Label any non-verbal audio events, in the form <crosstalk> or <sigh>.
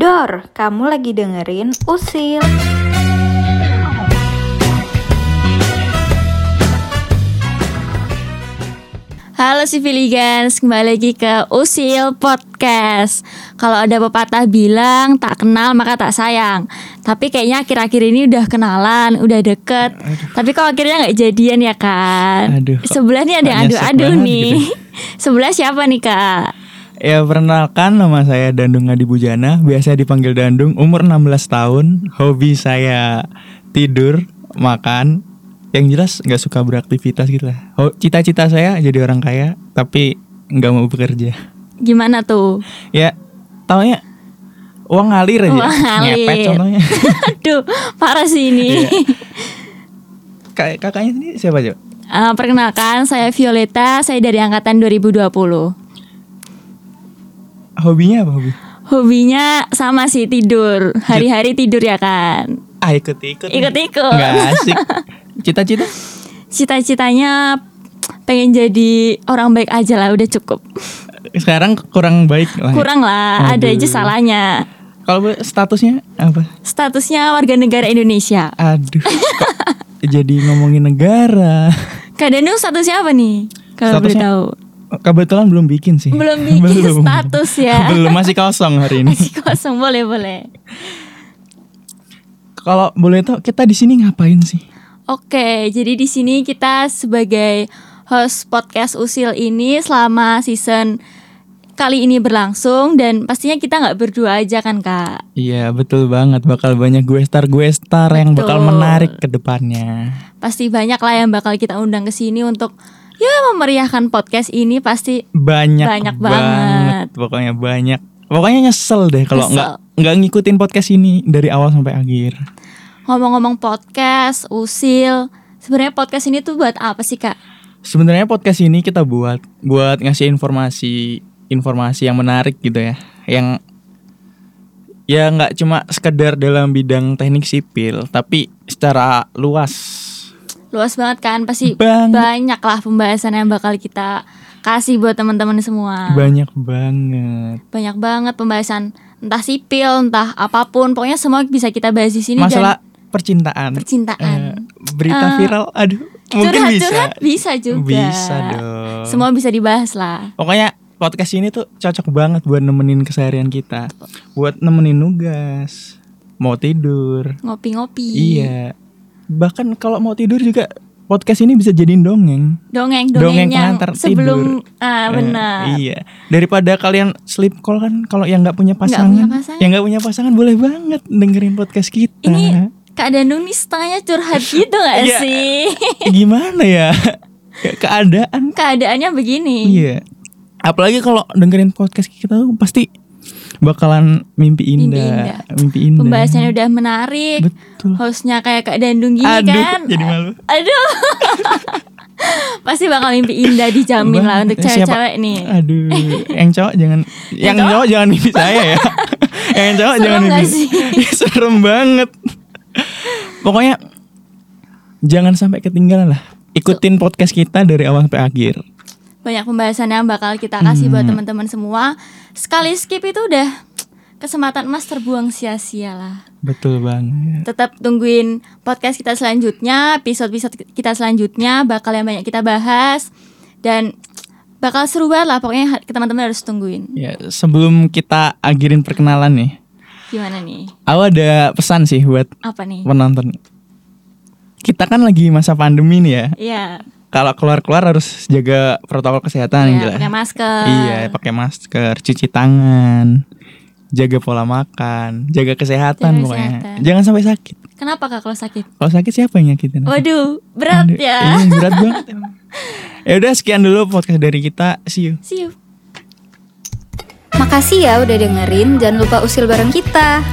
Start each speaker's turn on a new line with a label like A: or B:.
A: Dor, kamu lagi dengerin Usil.
B: Halo Civiligans, kembali lagi ke Usil Podcast Kalau ada pepatah bilang tak kenal maka tak sayang Tapi kayaknya akhir-akhir ini udah kenalan, udah deket Tapi kok akhirnya nggak jadian ya kan?
C: Aduh, kok
B: Sebelah nih ada yang
C: nggak nyesek
B: adu-adu
C: banget
B: nih
C: gitu.
B: <laughs> Sebelah siapa nih kak?
C: Ya perkenalkan nama saya Dandung Adi Bujana Biasa dipanggil Dandung Umur 16 tahun Hobi saya tidur, makan Yang jelas nggak suka beraktivitas gitu lah Ho- Cita-cita saya jadi orang kaya Tapi nggak mau bekerja
B: Gimana tuh? <laughs>
C: Ya taunya uang ngalir aja
B: Uang ngalir.
C: Ngepet contohnya
B: Aduh, parah sih ini
C: Kak- Kakaknya ini siapa Jo?
B: <laughs> Eh, Perkenalkan, saya Violeta, saya dari Angkatan 2020
C: Hobinya apa hobi?
B: Hobinya sama sih tidur
C: Iya.
B: Hari-hari tidur ya kan
C: Ah ikut-ikut nih.
B: Ikut-ikut.
C: Nggak
B: <laughs>
C: asik Cita-cita?
B: Cita-citanya pengen jadi orang baik aja lah udah cukup
C: Sekarang kurang baik lah ya.
B: Kurang lah, ada
C: Aduh.
B: aja salahnya
C: Kalau boleh, statusnya apa?
B: Statusnya warga negara Indonesia
C: Aduh, kok jadi ngomongin negara.
B: Kadang tuh statusnya apa nih? Kalau boleh
C: Statusnya-
B: tahu
C: Kebetulan belum bikin sih. <laughs>
B: Belum bikin status ya.
C: belum masih kosong hari ini.
B: <laughs> Masih kosong, boleh-boleh
C: Kalau boleh tahu kita di sini ngapain sih?
B: Oke, jadi di sini kita sebagai host podcast Usil ini selama season kali ini berlangsung dan pastinya kita nggak berdua aja kan kak.
C: Iya betul banget bakal banyak gue star gue star yang bakal
B: Betul.
C: menarik ke depannya.
B: Pasti banyak lah yang bakal kita undang ke sini untuk ya memeriahkan podcast ini pasti
C: Banyak,
B: Banyak banget.
C: Pokoknya banyak. Pokoknya nyesel deh kalau
B: Nyesel.
C: nggak nggak ngikutin podcast ini dari awal sampai akhir.
B: ngomong-ngomong podcast Usil. Sebenarnya podcast ini tuh buat apa sih kak?
C: Sebenarnya podcast ini kita buat buat ngasih informasi informasi yang menarik gitu ya, yang ya nggak cuma sekedar dalam bidang teknik sipil, tapi secara luas.
B: Luas banget kan pasti
C: Banget.
B: banyak lah pembahasan yang bakal kita kasih buat teman-teman semua.
C: Banyak banget.
B: banyak banget pembahasan entah sipil entah apapun pokoknya semua bisa kita bahas di sini
C: Masalah
B: dan
C: percintaan.
B: percintaan
C: Eh,
B: Eh,
C: berita viral, aduh, mungkin bisa.
B: curhat-curhat bisa juga
C: Bisa dong.
B: semua bisa dibahas lah
C: Pokoknya podcast ini tuh cocok banget buat nemenin keseharian kita, buat nemenin nugas, mau tidur.
B: ngopi-ngopi
C: Iya. Bahkan kalau mau tidur juga podcast ini bisa jadiin dongeng.
B: dongeng dongeng
C: Dongeng
B: yang
C: pengantar
B: sebelum ah
C: Eh,
B: benar
C: iya. Daripada kalian sleep call kan kalau yang nggak punya
B: punya
C: pasangan,
B: pasangan.
C: yang nggak punya pasangan boleh banget dengerin podcast kita.
B: ini
C: <laughs>
B: kak Danung nih setengahnya curhat gitu gak
C: Iya.
B: sih <laughs>
C: gimana ya? <laughs> Ke- Keadaan
B: keadaannya begini
C: iya. Apalagi kalau dengerin podcast kita tuh pasti bakalan mimpi
B: Mimpi
C: indah, mimpi indah.
B: pembahasannya udah menarik
C: Betul.
B: hostnya kayak kak Dandung gini
C: Aduh,
B: kan
C: jadi malu.
B: aduh <laughs> pasti bakal mimpi indah dijamin lah untuk
C: Eh, Siapa?
B: cewek-cewek nih
C: Aduh, yang cowok jangan yang
B: cowok?
C: cowok jangan
B: <laughs>
C: mimpi saya ya. yang cowok
B: Serem
C: jangan
B: gak
C: mimpi. <laughs>
B: sih?
C: Serem banget. Pokoknya jangan sampai ketinggalan lah. Ikutin podcast kita dari awal sampai akhir.
B: banyak pembahasan yang bakal kita kasih buat
C: Hmm.
B: teman-teman semua. Sekali skip itu udah kesempatan emas terbuang sia-sia lah.
C: Betul banget.
B: Tetap tungguin podcast kita selanjutnya, episode-episode kita selanjutnya bakal yang banyak kita bahas dan bakal seru banget lah pokoknya ha- teman-teman harus tungguin.
C: Ya, sebelum kita akhirin perkenalan nih,
B: Gimana nih?
C: aku ada pesan sih buat
B: Apa nih?
C: penonton. Kita kan lagi masa pandemi nih ya.
B: Iya.
C: Kalau keluar-keluar harus jaga protokol kesehatan yang
B: Iya,
C: jelas.
B: pakai masker.
C: Iya, pakai masker, cuci tangan, jaga pola makan, jaga kesehatan
B: Jaga
C: pokoknya.
B: kesehatan.
C: Jangan sampai sakit.
B: Kenapa Kak kalau sakit?
C: Kalau sakit siapa yang nyakitin?
B: Waduh, Oh, berat
C: Aduh,
B: ya.
C: Iya, berat
B: <laughs>
C: banget. emang. ya udah sekian dulu podcast dari kita. See you.
B: See you.
A: Makasih ya udah dengerin, jangan lupa usil bareng kita.